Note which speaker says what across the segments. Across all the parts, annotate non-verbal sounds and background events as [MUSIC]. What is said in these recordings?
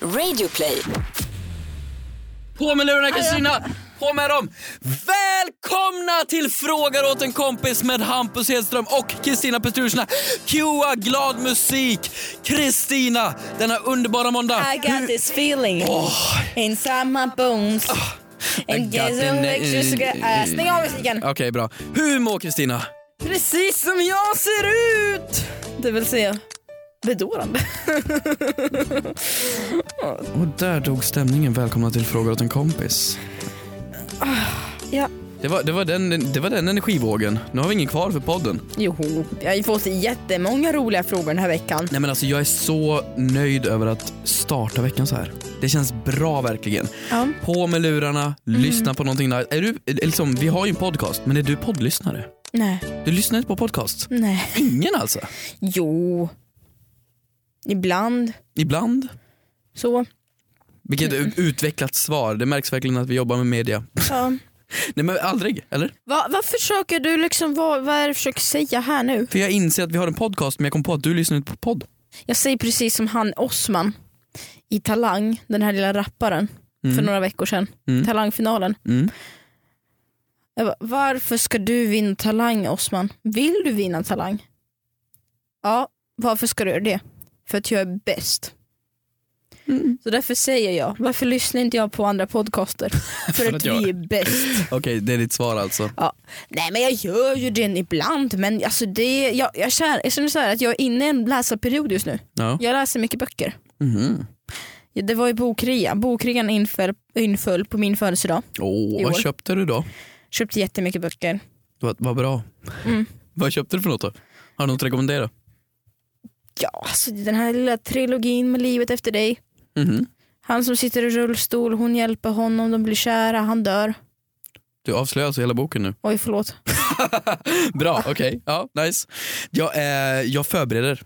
Speaker 1: Radioplay.
Speaker 2: På med lurarna Kristina! På med dem! Välkomna till Frågar åt en kompis med Hampus Hedström och Kristina Petrushina. Cua glad musik! Kristina, denna underbara måndag.
Speaker 3: I got this feeling inside my bones. And
Speaker 2: I got
Speaker 3: guess
Speaker 2: the
Speaker 3: I'm
Speaker 2: ne-
Speaker 3: like just a guy-
Speaker 2: eh,
Speaker 3: Äh, Stäng av musiken.
Speaker 2: Okej, bra. Hur mår Kristina?
Speaker 3: Precis som jag ser ut. Det vill säga bedårande.
Speaker 2: Och där dog stämningen. Välkomna till Frågar åt en kompis.
Speaker 3: Ja.
Speaker 2: Det var, det, var den, det var den energivågen. Nu har vi ingen kvar för podden.
Speaker 3: Jo, jag har ju fått jättemånga roliga frågor den här veckan.
Speaker 2: Nej men alltså jag är så nöjd över att starta veckan så här. Det känns bra verkligen.
Speaker 3: Ja. Mm.
Speaker 2: På med lurarna, lyssna på någonting nice. Är du, eh, liksom, vi har ju en podcast, men är du poddlyssnare?
Speaker 3: Nej,
Speaker 2: Du lyssnar inte på podcast?
Speaker 3: nej.
Speaker 2: Ingen alltså?
Speaker 3: Jo. Ibland
Speaker 2: Ibland?
Speaker 3: så.
Speaker 2: Vilket
Speaker 3: Mm.
Speaker 2: ut- utvecklat svar, det märks verkligen att vi jobbar med media.
Speaker 3: Ja.
Speaker 2: Nej men aldrig, eller?
Speaker 3: Va, vad försöker du liksom, vad, vad är det du försöker säga här nu?
Speaker 2: För jag inser att vi har en podcast men jag kom på att du lyssnar inte på podd.
Speaker 3: Jag säger precis som han Osman i Talang, den här lilla rapparen för några veckor sedan.
Speaker 2: Mm.
Speaker 3: Talangfinalen.
Speaker 2: Mm.
Speaker 3: Jag bara, varför ska du vinna Talang Osman? Vill du vinna Talang? Ja, varför ska du göra det? För att jag är bäst. Så därför säger jag, varför lyssnar inte jag på andra [LAUGHS] podcaster? För, att,
Speaker 2: att jag-
Speaker 3: vi är bäst.
Speaker 2: Okej, det är ditt svar alltså.
Speaker 3: Ja. Nej men jag gör ju den ibland men alltså det, jag, jag, kär, jag känner så här att jag är inne i en läsarperiod just nu.
Speaker 2: Ja.
Speaker 3: Jag läser mycket böcker.
Speaker 2: Mhm.
Speaker 3: Ja, Det var ju bokrea. Bokrean inföll, inföll på min födelsedag.
Speaker 2: Åh,
Speaker 3: I
Speaker 2: vad
Speaker 3: år.
Speaker 2: köpte du då?
Speaker 3: Köpte jättemycket böcker.
Speaker 2: Vad, vad bra.
Speaker 3: Mm.
Speaker 2: vad köpte du för något då? Har du något att rekommendera?
Speaker 3: Ja, alltså den här lilla trilogin med livet efter dig.
Speaker 2: Mhm.
Speaker 3: Han som sitter i rullstol, hon hjälper honom, de blir kära, han dör.
Speaker 2: Du avslöjar alltså hela boken nu.
Speaker 3: Oj förlåt.
Speaker 2: [LAUGHS] Bra, okej. Ja, nice. Jag, eh, jag förbereder.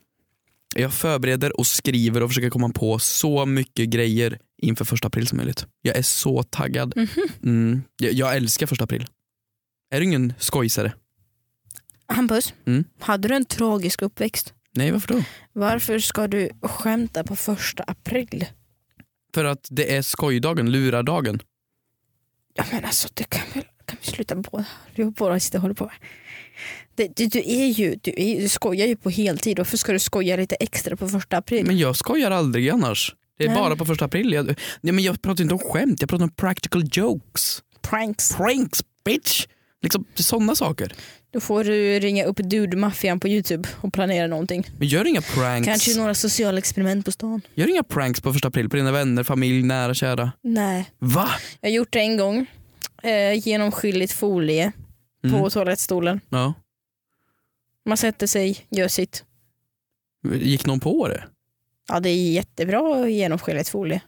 Speaker 2: Jag förbereder och skriver och försöker komma på så mycket grejer inför första april som möjligt. Jag är så taggad.
Speaker 3: Mhm.
Speaker 2: Mm. Jag, jag älskar första april. Är du ingen skojsare?
Speaker 3: Hampus,
Speaker 2: Mm.
Speaker 3: hade du en tragisk uppväxt?
Speaker 2: Nej, varför då?
Speaker 3: Varför ska du skämta på första april?
Speaker 2: För att det är skojdagen, lurardagen.
Speaker 3: Ja men alltså det kan, väl, kan vi sluta på Du bara sitter och håller på. med. Det, du, du, är ju, du, är, ju- du skojar ju på heltid, varför ska du skoja lite extra på första april?
Speaker 2: Men jag skojar aldrig annars. Det är
Speaker 3: Nej.
Speaker 2: bara på första april. Jag, nej, men jag pratar inte om skämt, jag pratar om practical jokes.
Speaker 3: Pranks.
Speaker 2: Pranks bitch! Liksom sådana saker.
Speaker 3: Då får du ringa upp Dude-maffian på Youtube och planera någonting.
Speaker 2: Men gör inga pranks.
Speaker 3: Kanske några sociala experiment på stan.
Speaker 2: Gör inga pranks på första april på dina vänner, familj, nära, kära.
Speaker 3: Nej.
Speaker 2: Va?
Speaker 3: Jag har gjort det en gång. Eh, genomskinligt folie
Speaker 2: Mm.
Speaker 3: på toalettstolen.
Speaker 2: Ja.
Speaker 3: Man sätter sig, gör sitt.
Speaker 2: Gick någon på det?
Speaker 3: Ja det är jättebra genomskinligt folie.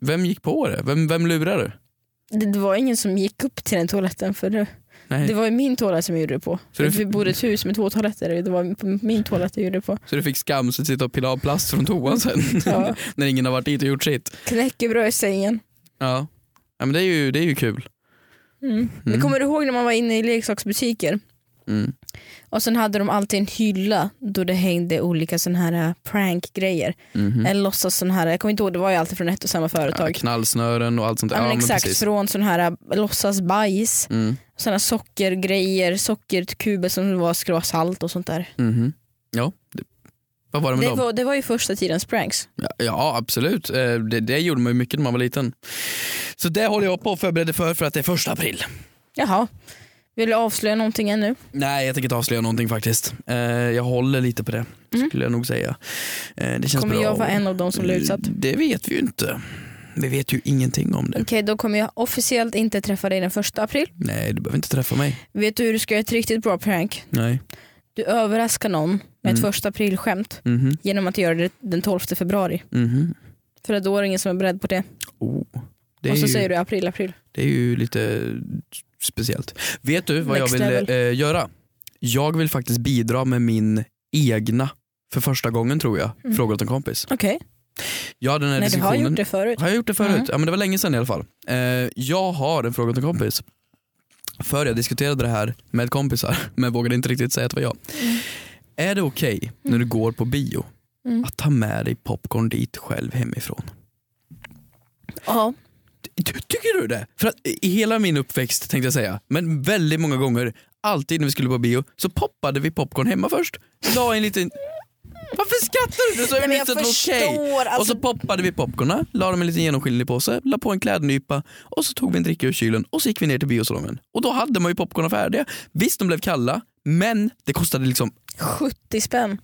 Speaker 2: Vem gick på det? Vem, vem lurade? du?
Speaker 3: Det, det var ingen som gick upp till den toaletten för det,
Speaker 2: Nej.
Speaker 3: det var ju min toalett som jag gjorde det på.
Speaker 2: Så du-
Speaker 3: Vi bodde i ett hus med två toaletter det var på min toalett jag gjorde
Speaker 2: [LAUGHS]
Speaker 3: det på.
Speaker 2: Så du fick skamset sitta och pilla av plast från toan sen
Speaker 3: [LAUGHS] Ja.
Speaker 2: [LAUGHS] när ingen har varit dit och gjort sitt.
Speaker 3: Knäckebröd i sängen.
Speaker 2: Ja. ja men det är ju, det är ju kul.
Speaker 3: Mm. Men kommer du ihåg när man var inne i leksaksbutiker?
Speaker 2: Mm.
Speaker 3: Och sen hade de alltid en hylla då det hängde olika sån här eh, prankgrejer.
Speaker 2: Mhm.
Speaker 3: Eller låtsas sån här, jag kommer inte ihåg, det var ju alltid från ett och samma
Speaker 2: Ja,
Speaker 3: företag. Ja,
Speaker 2: knallsnören och allt sånt där.
Speaker 3: men exakt,
Speaker 2: precis.
Speaker 3: från sån här eh, låtsas bajs,
Speaker 2: Mm.
Speaker 3: såna sockergrejer, sockerkuber som var skulle vara salt och sånt där.
Speaker 2: Mhm. Ja. Det- Vad var det med
Speaker 3: Det
Speaker 2: dem?
Speaker 3: var, det var ju första tidens pranks.
Speaker 2: Ja, Ja absolut, Eh, det, det gjorde man ju mycket när man var liten. Så det håller jag på och förbereder för för att det är första april.
Speaker 3: Jaha, vill du avslöja någonting ännu?
Speaker 2: Nej, jag tänker inte avslöja någonting faktiskt. Eh, jag håller lite på det, skulle jag nog säga. Eh, det känns
Speaker 3: Mm. Kommer
Speaker 2: bra. Mm. Eh,
Speaker 3: jag vara en av dem som blir utsatt?
Speaker 2: Det vet vi ju inte. Vi vet ju ingenting om det.
Speaker 3: Okej, då kommer jag officiellt inte träffa dig den första april.
Speaker 2: Nej, du behöver inte träffa mig.
Speaker 3: Vet du hur du ska göra ett riktigt bra prank?
Speaker 2: Nej.
Speaker 3: Du överraskar någon med ett
Speaker 2: Mm.
Speaker 3: första aprilskämt
Speaker 2: Mhm.
Speaker 3: genom att göra det den 12 februari.
Speaker 2: Mhm.
Speaker 3: För att då är det ingen som är beredd på det.
Speaker 2: Oh. Det, är
Speaker 3: och så
Speaker 2: ju,
Speaker 3: säger du april, april.
Speaker 2: det är ju lite speciellt. Vet du vad
Speaker 3: Next
Speaker 2: jag vill
Speaker 3: level.
Speaker 2: eh, göra? Jag vill faktiskt bidra med min egna, för första gången tror jag,
Speaker 3: Mm.
Speaker 2: fråga åt en kompis.
Speaker 3: Okej,
Speaker 2: Jag hade den här
Speaker 3: nej du har
Speaker 2: diskussionen-
Speaker 3: gjort det förut.
Speaker 2: Har jag gjort det förut?
Speaker 3: Mm.
Speaker 2: Ja, men det var länge sedan i alla fall. Eh, jag har en fråga till en kompis. För jag diskuterade det här med kompisar [LAUGHS] men vågade inte riktigt säga att det var jag. Är det okej när du går på bio
Speaker 3: Mm.
Speaker 2: att ta med dig popcorn dit själv hemifrån?
Speaker 3: Ja.
Speaker 2: Ty- Tycker du det? För att i hela min uppväxt tänkte jag säga, men väldigt många gånger, alltid när vi skulle på bio, så poppade vi popcorn hemma först. La en liten... Varför skrattar du? Du sa ju
Speaker 3: Nej, men jag
Speaker 2: nyss att det var okej.
Speaker 3: förstår. Alltså,
Speaker 2: Och så poppade vi popcornen, la dem i en liten genomskinlig påse, la på en klädnypa och så tog vi en dricka ur kylen och så gick vi ner till biosalongen. Och då hade man ju popcornen färdiga. Visst, de blev kalla, men det kostade liksom
Speaker 3: 70 spänn.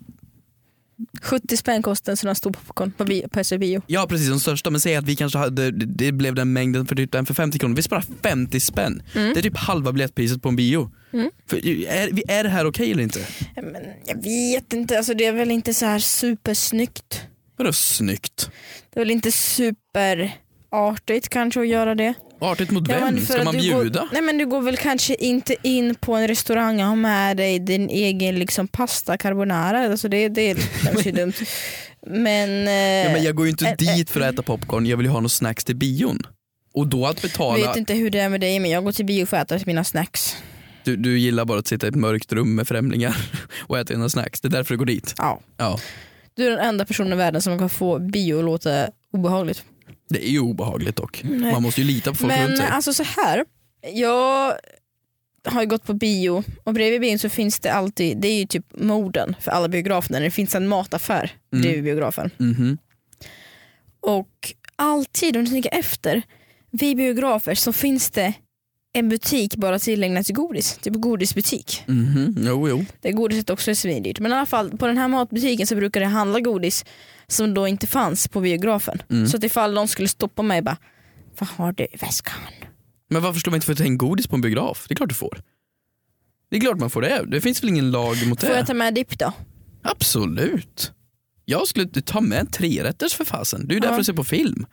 Speaker 3: 70 spänn kostade en sån här stor popcorn på, bio, på SE bio.
Speaker 2: Ja precis, de största, men säg att vi kanske hade, det- det blev den mängden för typ den för 50 kronor, vi sparar 50 spänn.
Speaker 3: Mm.
Speaker 2: Det är typ halva biljettpriset på en bio. För, är, vi- är det här okej eller inte?
Speaker 3: Men jag vet inte, alltså det är väl inte så här supersnyggt.
Speaker 2: Vadå snyggt?
Speaker 3: Det är väl inte superartigt kanske att göra det.
Speaker 2: Artigt mot vem?
Speaker 3: för
Speaker 2: Ska
Speaker 3: att
Speaker 2: man
Speaker 3: du
Speaker 2: bjuda?
Speaker 3: Går, nej men du går väl kanske inte in på en restaurang och har med dig din egen liksom pasta carbonara. Alltså
Speaker 2: [LAUGHS]
Speaker 3: det, det känns ju dumt. Men, eh,
Speaker 2: Ja, men jag går ju inte
Speaker 3: Ä- ä-
Speaker 2: dit för att äta popcorn, jag vill ju ha någon snacks till bion. Och då att
Speaker 3: jag
Speaker 2: betala,
Speaker 3: vet inte hur det är med dig men jag går till bio för att äta mina snacks.
Speaker 2: du, du gillar bara att sitta i ett mörkt rum med främlingar [LAUGHS] och äta dina snacks, det är därför du går dit.
Speaker 3: Ja.
Speaker 2: Ja,
Speaker 3: Du är den enda personen i världen som kan få bio att låta obehagligt.
Speaker 2: det är ju obehagligt dock.
Speaker 3: Nej.
Speaker 2: Man måste ju lita på folk runt
Speaker 3: Men
Speaker 2: sig.
Speaker 3: alltså så här. Jag har ju gått på bio och bredvid bion så finns det alltid, det är ju typ moden för alla biografer när det finns en mataffär
Speaker 2: Mm.
Speaker 3: bredvid biografen.
Speaker 2: Mhm.
Speaker 3: Och alltid om du tänker efter, vid biografer så finns det en butik bara tillägnad till godis, typ godisbutik.
Speaker 2: Mhm. Jo, jo.
Speaker 3: Där godiset också är svindyrt. Men i alla fall på den här matbutiken så brukar det handla godis som då inte fanns på biografen.
Speaker 2: Mm.
Speaker 3: Så att ifall någon skulle stoppa mig bara, vad har du i väskan?
Speaker 2: Men varför skulle man inte få ta in godis på en biograf? Det är klart du får. Det är klart man får det. Det finns väl ingen lag mot det?
Speaker 3: Får jag ta med dipp då?
Speaker 2: Absolut. Jag skulle ta med en trerätters för fasen. Det är ju därför
Speaker 3: Ja. Mm.
Speaker 2: du ser på film.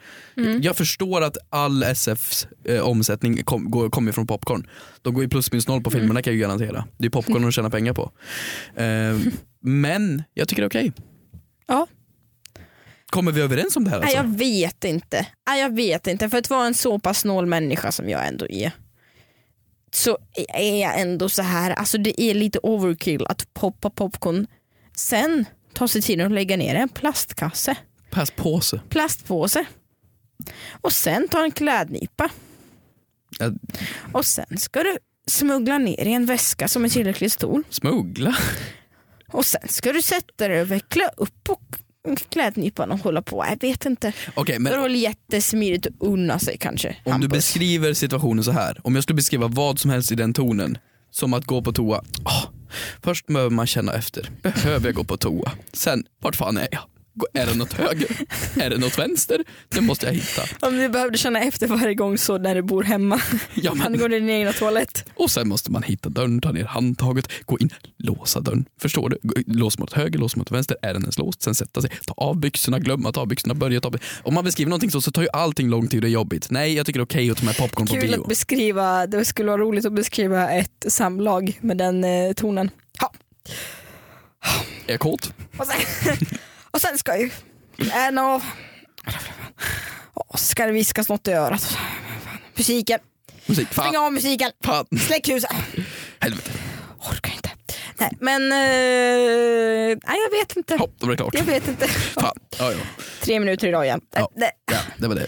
Speaker 2: Jag förstår att all SFs eh, omsättning kom, går, kommer från popcorn. De går ju plus minus noll på filmerna
Speaker 3: Mm.
Speaker 2: kan jag ju garantera. Det är popcorn de tjänar pengar på.
Speaker 3: [LAUGHS]
Speaker 2: Eh, men jag tycker det är okej.
Speaker 3: Ja.
Speaker 2: Kommer vi överens om det här alltså?
Speaker 3: Nej, jag vet inte. Nej, jag vet inte. För att vara en så pass snål människa som jag ändå är så är jag ändå så här. Alltså det är lite overkill att poppa popcorn sen ta sig tiden att lägga ner en plastkasse,
Speaker 2: Pass påse.
Speaker 3: plastpåse och sen ta en klädnypa
Speaker 2: Jag
Speaker 3: och sen ska du smuggla ner i en väska som är tillräckligt stor
Speaker 2: smuggla. [LAUGHS]
Speaker 3: och sen ska du sätta dig och veckla upp och klädnypan och hålla på. Jag vet inte.
Speaker 2: Okej,
Speaker 3: Det
Speaker 2: men
Speaker 3: är väl jättesmidigt att unna sig kanske.
Speaker 2: Om du
Speaker 3: Hampus.
Speaker 2: beskriver situationen så här, om jag skulle beskriva vad som helst i den tonen, som att gå på toa. Åh, först behöver man känna efter, behöver jag gå på toa? Sen, vart fan är jag? Gå- Är det något höger? Är det något vänster? Det måste jag hitta.
Speaker 3: Om du behövde känna efter varje gång så när du bor hemma.
Speaker 2: Ja,
Speaker 3: Han
Speaker 2: men,
Speaker 3: går i din egna toalett.
Speaker 2: och sen måste man hitta dörren, ta ner handtaget, gå in, låsa dörren. Förstår du? Gå- Lås mot höger, lås mot vänster, är den ens låst? Sen sätta sig, ta av byxorna, glömma att ta av byxorna, börja ta av Om man beskriver någonting så, så tar ju allting lång tid och det är jobbigt. Nej, jag tycker det är okej att ta med popcorn på
Speaker 3: Kul att
Speaker 2: bio.
Speaker 3: beskriva, det skulle vara roligt att beskriva ett samlag med den eh, tonen. Ja.
Speaker 2: Är jag kåt?
Speaker 3: Och, sen, [LAUGHS] och sen ska ju en av... Och så ska det viskas något i örat. Musiken,
Speaker 2: Musik?
Speaker 3: stäng
Speaker 2: Fan,
Speaker 3: av musiken,
Speaker 2: fan,
Speaker 3: släck ljuset.
Speaker 2: helvete.
Speaker 3: Orkar inte. Nej men, eh, nej jag vet inte.
Speaker 2: Hopp, då var det klart.
Speaker 3: Jag vet inte.
Speaker 2: Fan. Ja, ja.
Speaker 3: Tre minuter idag igen. Eh,
Speaker 2: Ja.
Speaker 3: Nej.
Speaker 2: ja, det var det.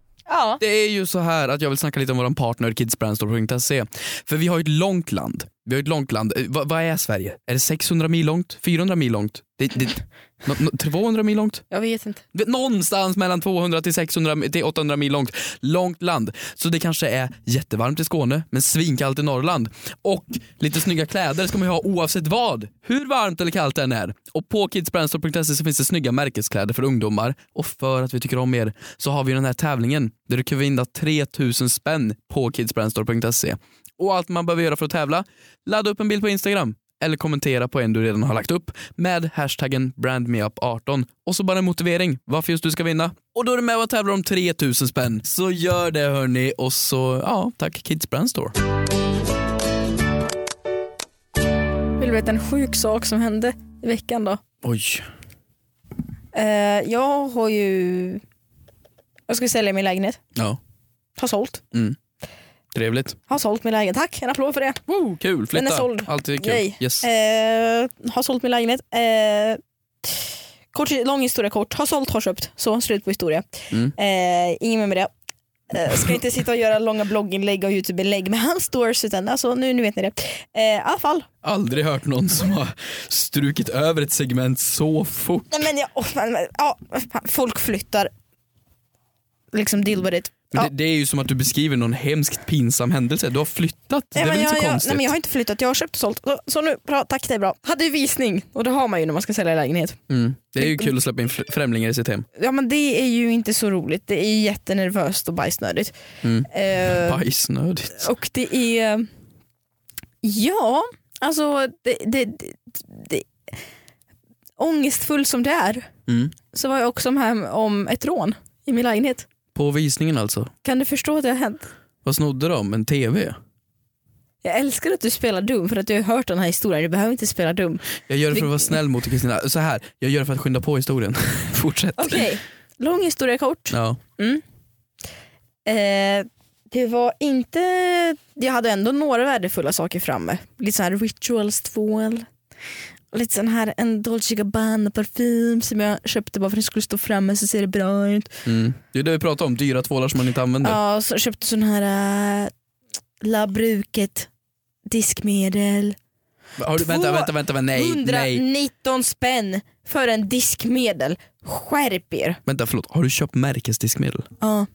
Speaker 3: Ja.
Speaker 2: det är ju så här att jag vill snacka lite om vår partner kidsbrandstore.se. För vi har ju ett långt land. Vi har ju ett långt land. Eh, vad- vad är Sverige? Är det 600 mil långt? 400 mil långt? Det, det, nå- nå- 200 mil långt?
Speaker 3: Jag vet inte.
Speaker 2: Det- Någonstans mellan 200 till 600 mi- till 800 mil långt. Långt land. Så det kanske är jättevarmt i Skåne men svinkallt i Norrland. Och lite snygga kläder ska man ju ha oavsett vad. Hur varmt eller kallt det än är. Och på kidsbrandstore.se så finns det snygga märkeskläder för ungdomar. Och för att vi tycker om er så har vi den här tävlingen där du kan vinna 3000 spänn på kidsbrandstore.se. Och allt man behöver göra för att tävla, ladda upp en bild på Instagram eller kommentera på en du redan har lagt upp med hashtaggen brandmeup18 och så bara en motivering varför just du ska vinna. Och då är du med och tävlar om 3000 spänn. Så gör det hörni och så ja, tack Kids Brand Store.
Speaker 3: Vill helvete en sjuk sak som hände i veckan då.
Speaker 2: Oj.
Speaker 3: Eh, jag har ju... Jag ska sälja min lägenhet.
Speaker 2: Ja,
Speaker 3: Har sålt.
Speaker 2: trevligt.
Speaker 3: Har sålt min lägenhet. Tack, en applåd för det.
Speaker 2: Woo, kul, flytta.
Speaker 3: Den är såld.
Speaker 2: Alltid kul.
Speaker 3: Yay.
Speaker 2: Yes.
Speaker 3: Eh, har sålt min lägenhet. Eh, kort, lång historia kort. Har sålt, har köpt. Så, slut på historia.
Speaker 2: Mm.
Speaker 3: Eh, inget mer med det. Eh, ska inte sitta och göra långa blogginlägg och youtube-inlägg med hans stories utan alltså, nu, nu vet ni det. Eh, I alla fall.
Speaker 2: Aldrig hört någon som har strukit över ett segment så fort.
Speaker 3: Nej, men jag, åh, fan, men, ja, fan, folk flyttar. Liksom deal with it.
Speaker 2: Men
Speaker 3: Ja.
Speaker 2: det, det är ju som att du beskriver någon hemskt pinsam händelse. Du har flyttat, det är
Speaker 3: Nej,
Speaker 2: väl
Speaker 3: men
Speaker 2: inte
Speaker 3: jag,
Speaker 2: så
Speaker 3: jag,
Speaker 2: konstigt?
Speaker 3: nej, men jag har inte flyttat, jag har köpt och sålt. Så, så nu, bra, tack det är bra. Hade ju visning och det har man ju när man ska sälja lägenhet.
Speaker 2: mm. Det är
Speaker 3: Eh,
Speaker 2: ju kul att släppa in fr- främlingar i sitt hem.
Speaker 3: Ja men det är ju inte så roligt, det är jättenervöst och bajsnödigt.
Speaker 2: Mm.
Speaker 3: Eh,
Speaker 2: Bajsnödigt.
Speaker 3: och det är, ja alltså det, det, det, det ångestfull som det är
Speaker 2: Mm.
Speaker 3: så var jag också med om ett rån i min lägenhet.
Speaker 2: På visningen alltså.
Speaker 3: Kan du förstå att det har hänt?
Speaker 2: Vad snodde de? En TV?
Speaker 3: Jag älskar att du spelar dum för att du har hört den här historien, du behöver inte spela dum.
Speaker 2: Jag gör det för att vara snäll mot dig, Kristina. Så här, jag gör det för att skynda på historien. [LAUGHS] Fortsätt.
Speaker 3: Okej, [LAUGHS] lång historia kort.
Speaker 2: Ja.
Speaker 3: Eh, det var inte, jag hade ändå några värdefulla saker framme. Lite sån här rituals tvål. Och Lite sån här en Dolce Gabbana parfym som jag köpte bara för att den skulle stå framme så ser det bra ut.
Speaker 2: Mm. Det är det vi pratar om, dyra tvålar som man inte använder.
Speaker 3: Ja, och så köpte sån här äh, Labruket diskmedel.
Speaker 2: Har du, vänta,
Speaker 3: Två-
Speaker 2: vänta, vänta, vänta, nej, nej.
Speaker 3: 119 spänn för en diskmedel. Skärp er.
Speaker 2: Vänta, förlåt. Har du köpt märkesdiskmedel?
Speaker 3: Ja.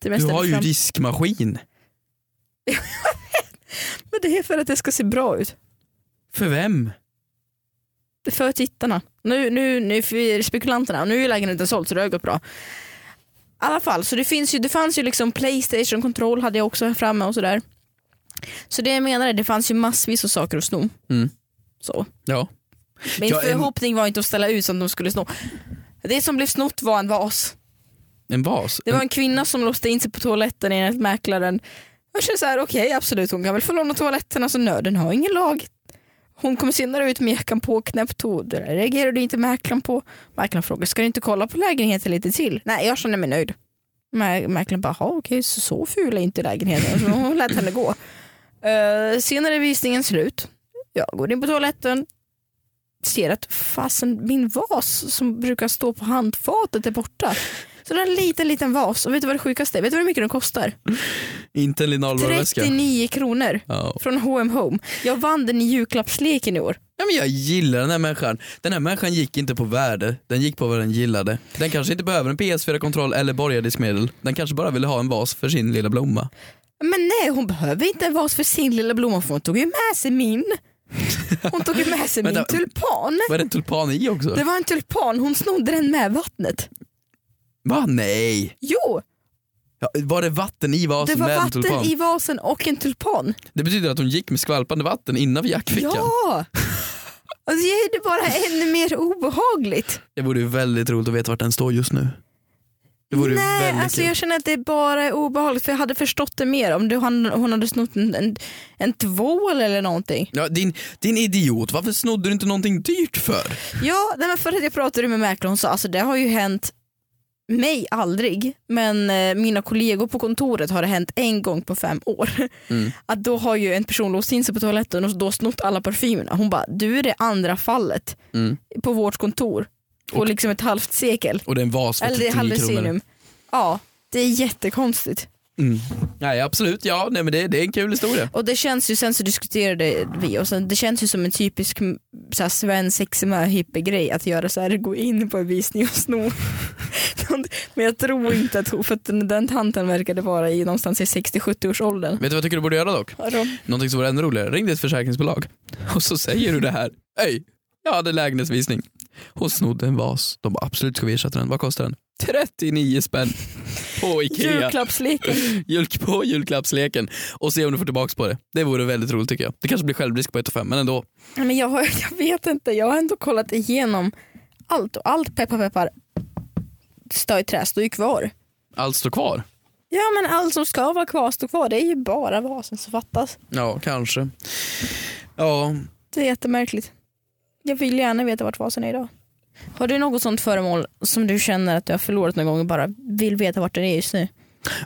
Speaker 3: Det
Speaker 2: Du
Speaker 3: mesta
Speaker 2: har
Speaker 3: är
Speaker 2: ju
Speaker 3: fram-
Speaker 2: diskmaskin.
Speaker 3: Men det är för att det ska se bra ut.
Speaker 2: För vem?
Speaker 3: för tittarna. Nu, nu, nu för spekulanterna. Nu är lägenheten såld så det har gått bra. I alla fall, så det, finns ju, det fanns ju liksom Playstation-kontroll hade jag också här framme och sådär. Så det jag menar är det fanns ju massvis av saker att sno.
Speaker 2: Mm.
Speaker 3: Så.
Speaker 2: Ja.
Speaker 3: Min
Speaker 2: Ja, en-
Speaker 3: förhoppning var inte att ställa ut som de skulle sno. Det som blev snott var en vas.
Speaker 2: En vas?
Speaker 3: Det var
Speaker 2: en...
Speaker 3: en kvinna som låste in sig på toaletten enligt mäklaren. Jag känner såhär, okej absolut hon kan väl få låna toaletten, alltså nöden har ingen lag. Hon kom senare ut med jackan på och knäppt tå. Det där reagerade inte mäklaren på. Mäklaren frågade, ska du inte kolla på lägenheten lite till? Nej, jag känner mig nöjd. Mä- Mäklaren bara, "Jaha, okej så, så ful är inte lägenheten. Så hon lät henne gå. Eh, senare är visningen slut. Jag går in på toaletten. Ser att fasen, min vas som brukar stå på handfatet är borta. Så det är en liten liten vas och vet du vad det sjukaste är? Vet du hur mycket den kostar?
Speaker 2: Inte en linalvaruväska?
Speaker 3: 39 kronor
Speaker 2: Ja.
Speaker 3: från H&M Home. Jag vann den i julklappsleken i år.
Speaker 2: ja, men jag gillar den här människan. Den här människan gick inte på värde, den gick på vad den gillade. Den kanske inte behöver en PS4-kontroll eller borgardiskmedel. Den kanske bara ville ha en vas för sin lilla blomma.
Speaker 3: Men nej, hon behöver inte en vas för sin lilla blomma för hon tog ju med sig min. Hon tog ju
Speaker 2: [LAUGHS]
Speaker 3: med sig min
Speaker 2: Vänta.
Speaker 3: tulpan.
Speaker 2: Var det en tulpan i också?
Speaker 3: Det var en tulpan, hon snodde den med vattnet.
Speaker 2: Va? Nej!
Speaker 3: Jo,
Speaker 2: Ja, var det vatten i
Speaker 3: det
Speaker 2: vasen
Speaker 3: var
Speaker 2: Alltså med en
Speaker 3: vatten
Speaker 2: tulpan?
Speaker 3: i vasen och en tulpan.
Speaker 2: Det betyder att hon gick med skvalpande vatten innanför jackfickan.
Speaker 3: Ja! Och det är det bara ännu mer obehagligt.
Speaker 2: Det vore ju väldigt roligt att veta vart den står just nu. Det vore ju
Speaker 3: Nej,
Speaker 2: väldigt
Speaker 3: alltså
Speaker 2: kul.
Speaker 3: jag känner att det bara är obehagligt för jag hade förstått det mer om du, han, hon hade snott en, en, en tvål eller någonting.
Speaker 2: Ja, din, din idiot, varför snodde du inte någonting dyrt för?
Speaker 3: Ja, nej, men för att jag pratade med mäklaren så alltså det har ju hänt mig aldrig, men eh, mina kollegor på kontoret har det hänt en gång på fem år.
Speaker 2: Mm.
Speaker 3: [LAUGHS] Att då har ju en person låst in sig på toaletten och då snott alla parfymerna. Hon bara, du är det andra fallet
Speaker 2: Mm.
Speaker 3: på vårt kontor på liksom ett halvt sekel.
Speaker 2: Och det är en vas för
Speaker 3: Eller det är
Speaker 2: 39 kronor.
Speaker 3: hallucinium. Ja, det är jättekonstigt.
Speaker 2: Mm. Nej absolut, ja nej, men det, det är en kul historia.
Speaker 3: Och det känns ju, sen så diskuterade vi och sen, det känns ju som en typisk mm, så här, svensex hippie-grej att göra så här, gå in på en visning och sno. [LAUGHS] Men jag tror inte att hon, för att den, den tanten verkade vara i någonstans i 60-70 års åldern.
Speaker 2: Vet du vad jag tycker du borde göra dock? Någonting som vore ännu roligare, ring ditt försäkringsbolag [LAUGHS] och så säger du det här. Hej, jag hade lägenhetsvisning. Hon snodde en vas. De bara absolut ska vi ersätta den. Vad kostar den? 39 spänn [LAUGHS] på Ikea.
Speaker 3: Julklappsleken.
Speaker 2: Julk på julklappsleken och se om du får tillbaka på det. Det vore väldigt roligt tycker jag. Det kanske blir självrisk på 1 5 men ändå.
Speaker 3: Nej, Men jag, har, jag vet inte, jag har ändå kollat igenom allt och allt peppar peppar står i trä, står ju kvar.
Speaker 2: Allt står kvar.
Speaker 3: Ja men allt som ska vara kvar står kvar, det är ju bara vasen som fattas.
Speaker 2: Ja, kanske. Ja,
Speaker 3: Det är jättemärkligt. Jag vill gärna veta vart vasen är idag. Har du något sånt föremål som du känner att du har förlorat någon gång och bara vill veta vart den är just nu?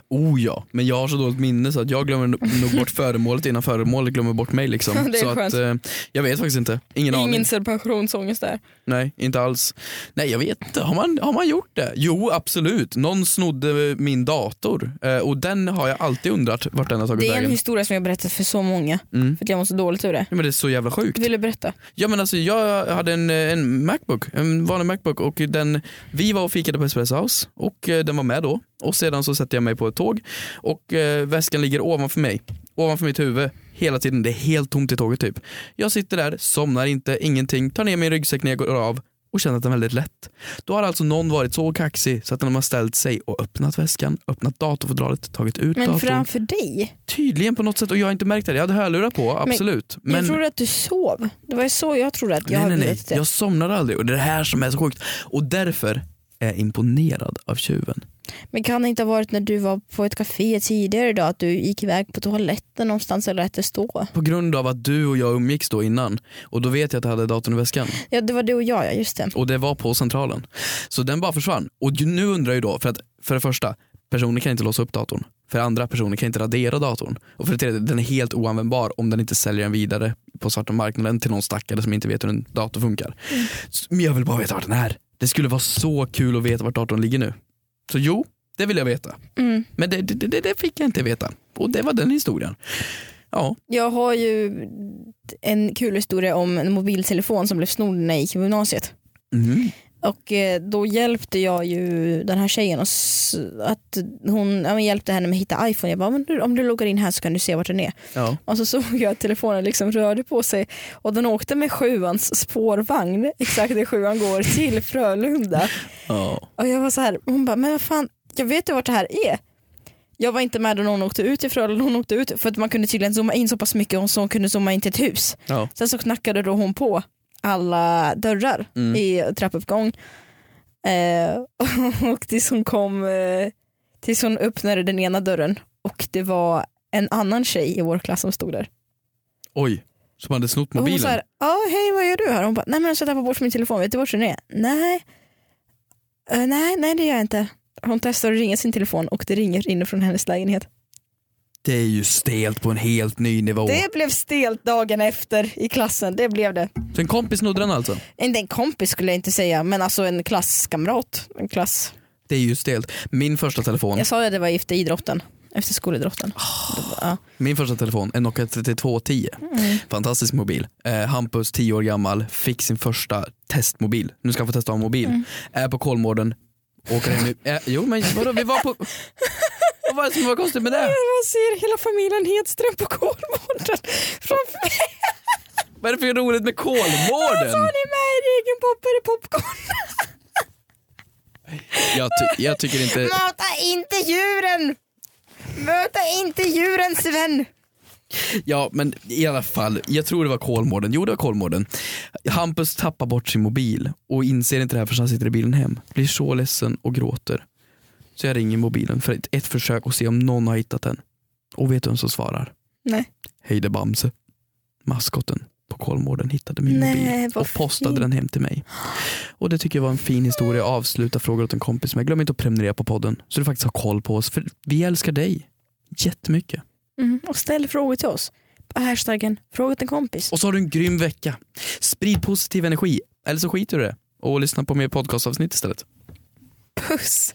Speaker 2: Oh ja, men jag har så dåligt minne så att jag glömmer nog bort föremålet innan föremålet glömmer bort mig. Liksom.
Speaker 3: [LAUGHS] Det är
Speaker 2: så att,
Speaker 3: skönt.
Speaker 2: eh, jag vet faktiskt inte. Ingen, aning.
Speaker 3: pensionsångest där.
Speaker 2: Nej, inte alls. Nej, jag vet inte. Har man, har man gjort det? Jo, absolut. Någon snodde min dator eh, och den har jag alltid undrat vart den har tagit
Speaker 3: Det är en
Speaker 2: vägen.
Speaker 3: historia som jag berättat för så många
Speaker 2: Mm.
Speaker 3: för att jag mår så dåligt ur det.
Speaker 2: Ja, men det är så jävla sjukt.
Speaker 3: Vill du berätta?
Speaker 2: Ja, men alltså, jag hade en, en Macbook, en vanlig Macbook och den, vi var och fikade på Espresso House och eh, den var med då och sedan så sätter jag mig på ett tåg och eh, väskan ligger ovanför mig, ovanför mitt huvud hela tiden. Det är helt tomt i tåget typ. Jag sitter där, somnar inte, ingenting, tar ner min ryggsäck när jag går av och känner att den är väldigt lätt. Då har alltså någon varit så kaxig så att den har ställt sig och öppnat väskan, öppnat datorfodralet, tagit ut
Speaker 3: Men
Speaker 2: datorn.
Speaker 3: framför dig?
Speaker 2: Tydligen på något sätt och jag har inte märkt det. Jag hade hörlurar på, absolut. Men,
Speaker 3: Jag trodde att du sov. Det var ju så jag trodde att jag
Speaker 2: nej,
Speaker 3: hade
Speaker 2: nej, nej.
Speaker 3: berättat det.
Speaker 2: Jag somnar aldrig och det är det här som är så sjukt. Och därför är jag imponerad av tjuven.
Speaker 3: Men kan det inte ha varit när du var på ett café tidigare idag att du gick iväg på toaletten någonstans eller lät det stå?
Speaker 2: På grund av att du och jag umgicks då innan och då vet jag att jag hade datorn i väskan
Speaker 3: Ja det var du och jag, ja just det.
Speaker 2: och det var på centralen. Så den bara försvann. Och ju- nu undrar jag ju då, för att för det första, personer kan inte låsa upp datorn. För det andra, personer kan inte radera datorn. Och för det tredje, den är helt oanvändbar om den inte säljer den vidare på svarta marknaden till någon stackare som inte vet hur en dator funkar. S- Men jag vill bara veta vart den är. Det skulle vara så kul att veta vart datorn ligger nu. Så jo, det vill jag veta.
Speaker 3: Mm.
Speaker 2: Men det, det, det, det fick jag inte veta. Och det var den historien. Ja,
Speaker 3: Jag har ju en kul historia om en mobiltelefon som blev snodd när jag gick i gymnasiet.
Speaker 2: mm.
Speaker 3: Och eh, då hjälpte jag ju den här tjejen att, s- att hon ja, men hjälpte henne med att hitta iPhone. Jag bara, men du, om du loggar in här så kan du se vart den är.
Speaker 2: ja.
Speaker 3: Och så [LAUGHS] såg jag att telefonen liksom rörde på sig och den åkte med sjuans spårvagn, exakt där sjuan går, till Frölunda.
Speaker 2: ja.
Speaker 3: Och jag var så här, hon bara, men vad fan, jag vet ju vart det här är. Jag var inte med när någon åkte ut i Frölunda, hon åkte ut för att man kunde tydligen zooma in så pass mycket och så hon kunde zooma in till ett hus.
Speaker 2: ja.
Speaker 3: Sen så knackade då hon på alla dörrar
Speaker 2: Mm.
Speaker 3: i trappuppgång. Eh, [LAUGHS] och tills hon kom, eh, tills hon öppnade den ena dörren och det var en annan tjej i vår klass som stod där.
Speaker 2: Oj, som hade snott
Speaker 3: Och
Speaker 2: mobilen.
Speaker 3: hon så här, ja hej vad gör du här? Hon bara, nej men jag ska tappa bort min telefon, vet du vart den är? Nej, Eh, nej, nej det gör jag inte. Hon testar att ringa sin telefon och det ringer inifrån hennes lägenhet.
Speaker 2: Det är ju stelt på en helt ny nivå.
Speaker 3: Det blev stelt dagen efter i klassen, det blev det.
Speaker 2: Så en kompis snodde den alltså?
Speaker 3: Inte en kompis skulle jag inte säga, men alltså en klasskamrat. En klass.
Speaker 2: Det är ju stelt. Min första telefon,
Speaker 3: Jag sa ju att det var efter idrotten, efter skolidrotten. Det var- ja.
Speaker 2: min första telefon, en Nokia 3210.
Speaker 3: Mm.
Speaker 2: Fantastisk mobil. Eh, Hampus, 10 år gammal, fick sin första testmobil. Nu ska han få testa att ha en mobil.
Speaker 3: Mm.
Speaker 2: Är på Kolmården, åker hem i... Eh, jo men vadå, vi var
Speaker 3: [LAUGHS]
Speaker 2: på... Vad var det som var konstigt med det?
Speaker 3: Jag ser hela familjen Hedström på Kolmården framför mig.
Speaker 2: Vad är det för roligt med Kolmården?
Speaker 3: Hon är med i regenpoppare popcorn.
Speaker 2: Jag, ty- jag tycker inte...
Speaker 3: Mata inte djuren! Möta inte djuren Sven!
Speaker 2: Ja men i alla fall, jag tror det var Kolmården. Jo det var Kolmården. Hampus tappar bort sin mobil och inser inte det här förrän han sitter i bilen hem. Blir så ledsen och gråter. Så jag ringer mobilen för ett, ett försök och se om någon har hittat den. Och vet du vem som svarar?
Speaker 3: Nej.
Speaker 2: Hej det är Bamse. Maskotten på Kolmården hittade min
Speaker 3: Nej,
Speaker 2: mobil
Speaker 3: vad
Speaker 2: och postade
Speaker 3: fint.
Speaker 2: den hem till mig. Och Det tycker jag var en fin historia att avsluta frågor åt en kompis med. Glöm inte att prenumerera på podden så du faktiskt har koll på oss. För vi älskar dig jättemycket.
Speaker 3: Mm. Och ställ frågor till oss på hashtaggen fråga till en kompis.
Speaker 2: Och så har du en grym vecka. Sprid positiv energi, eller så skiter du i det och lyssna på mer podcastavsnitt istället.
Speaker 3: Puss!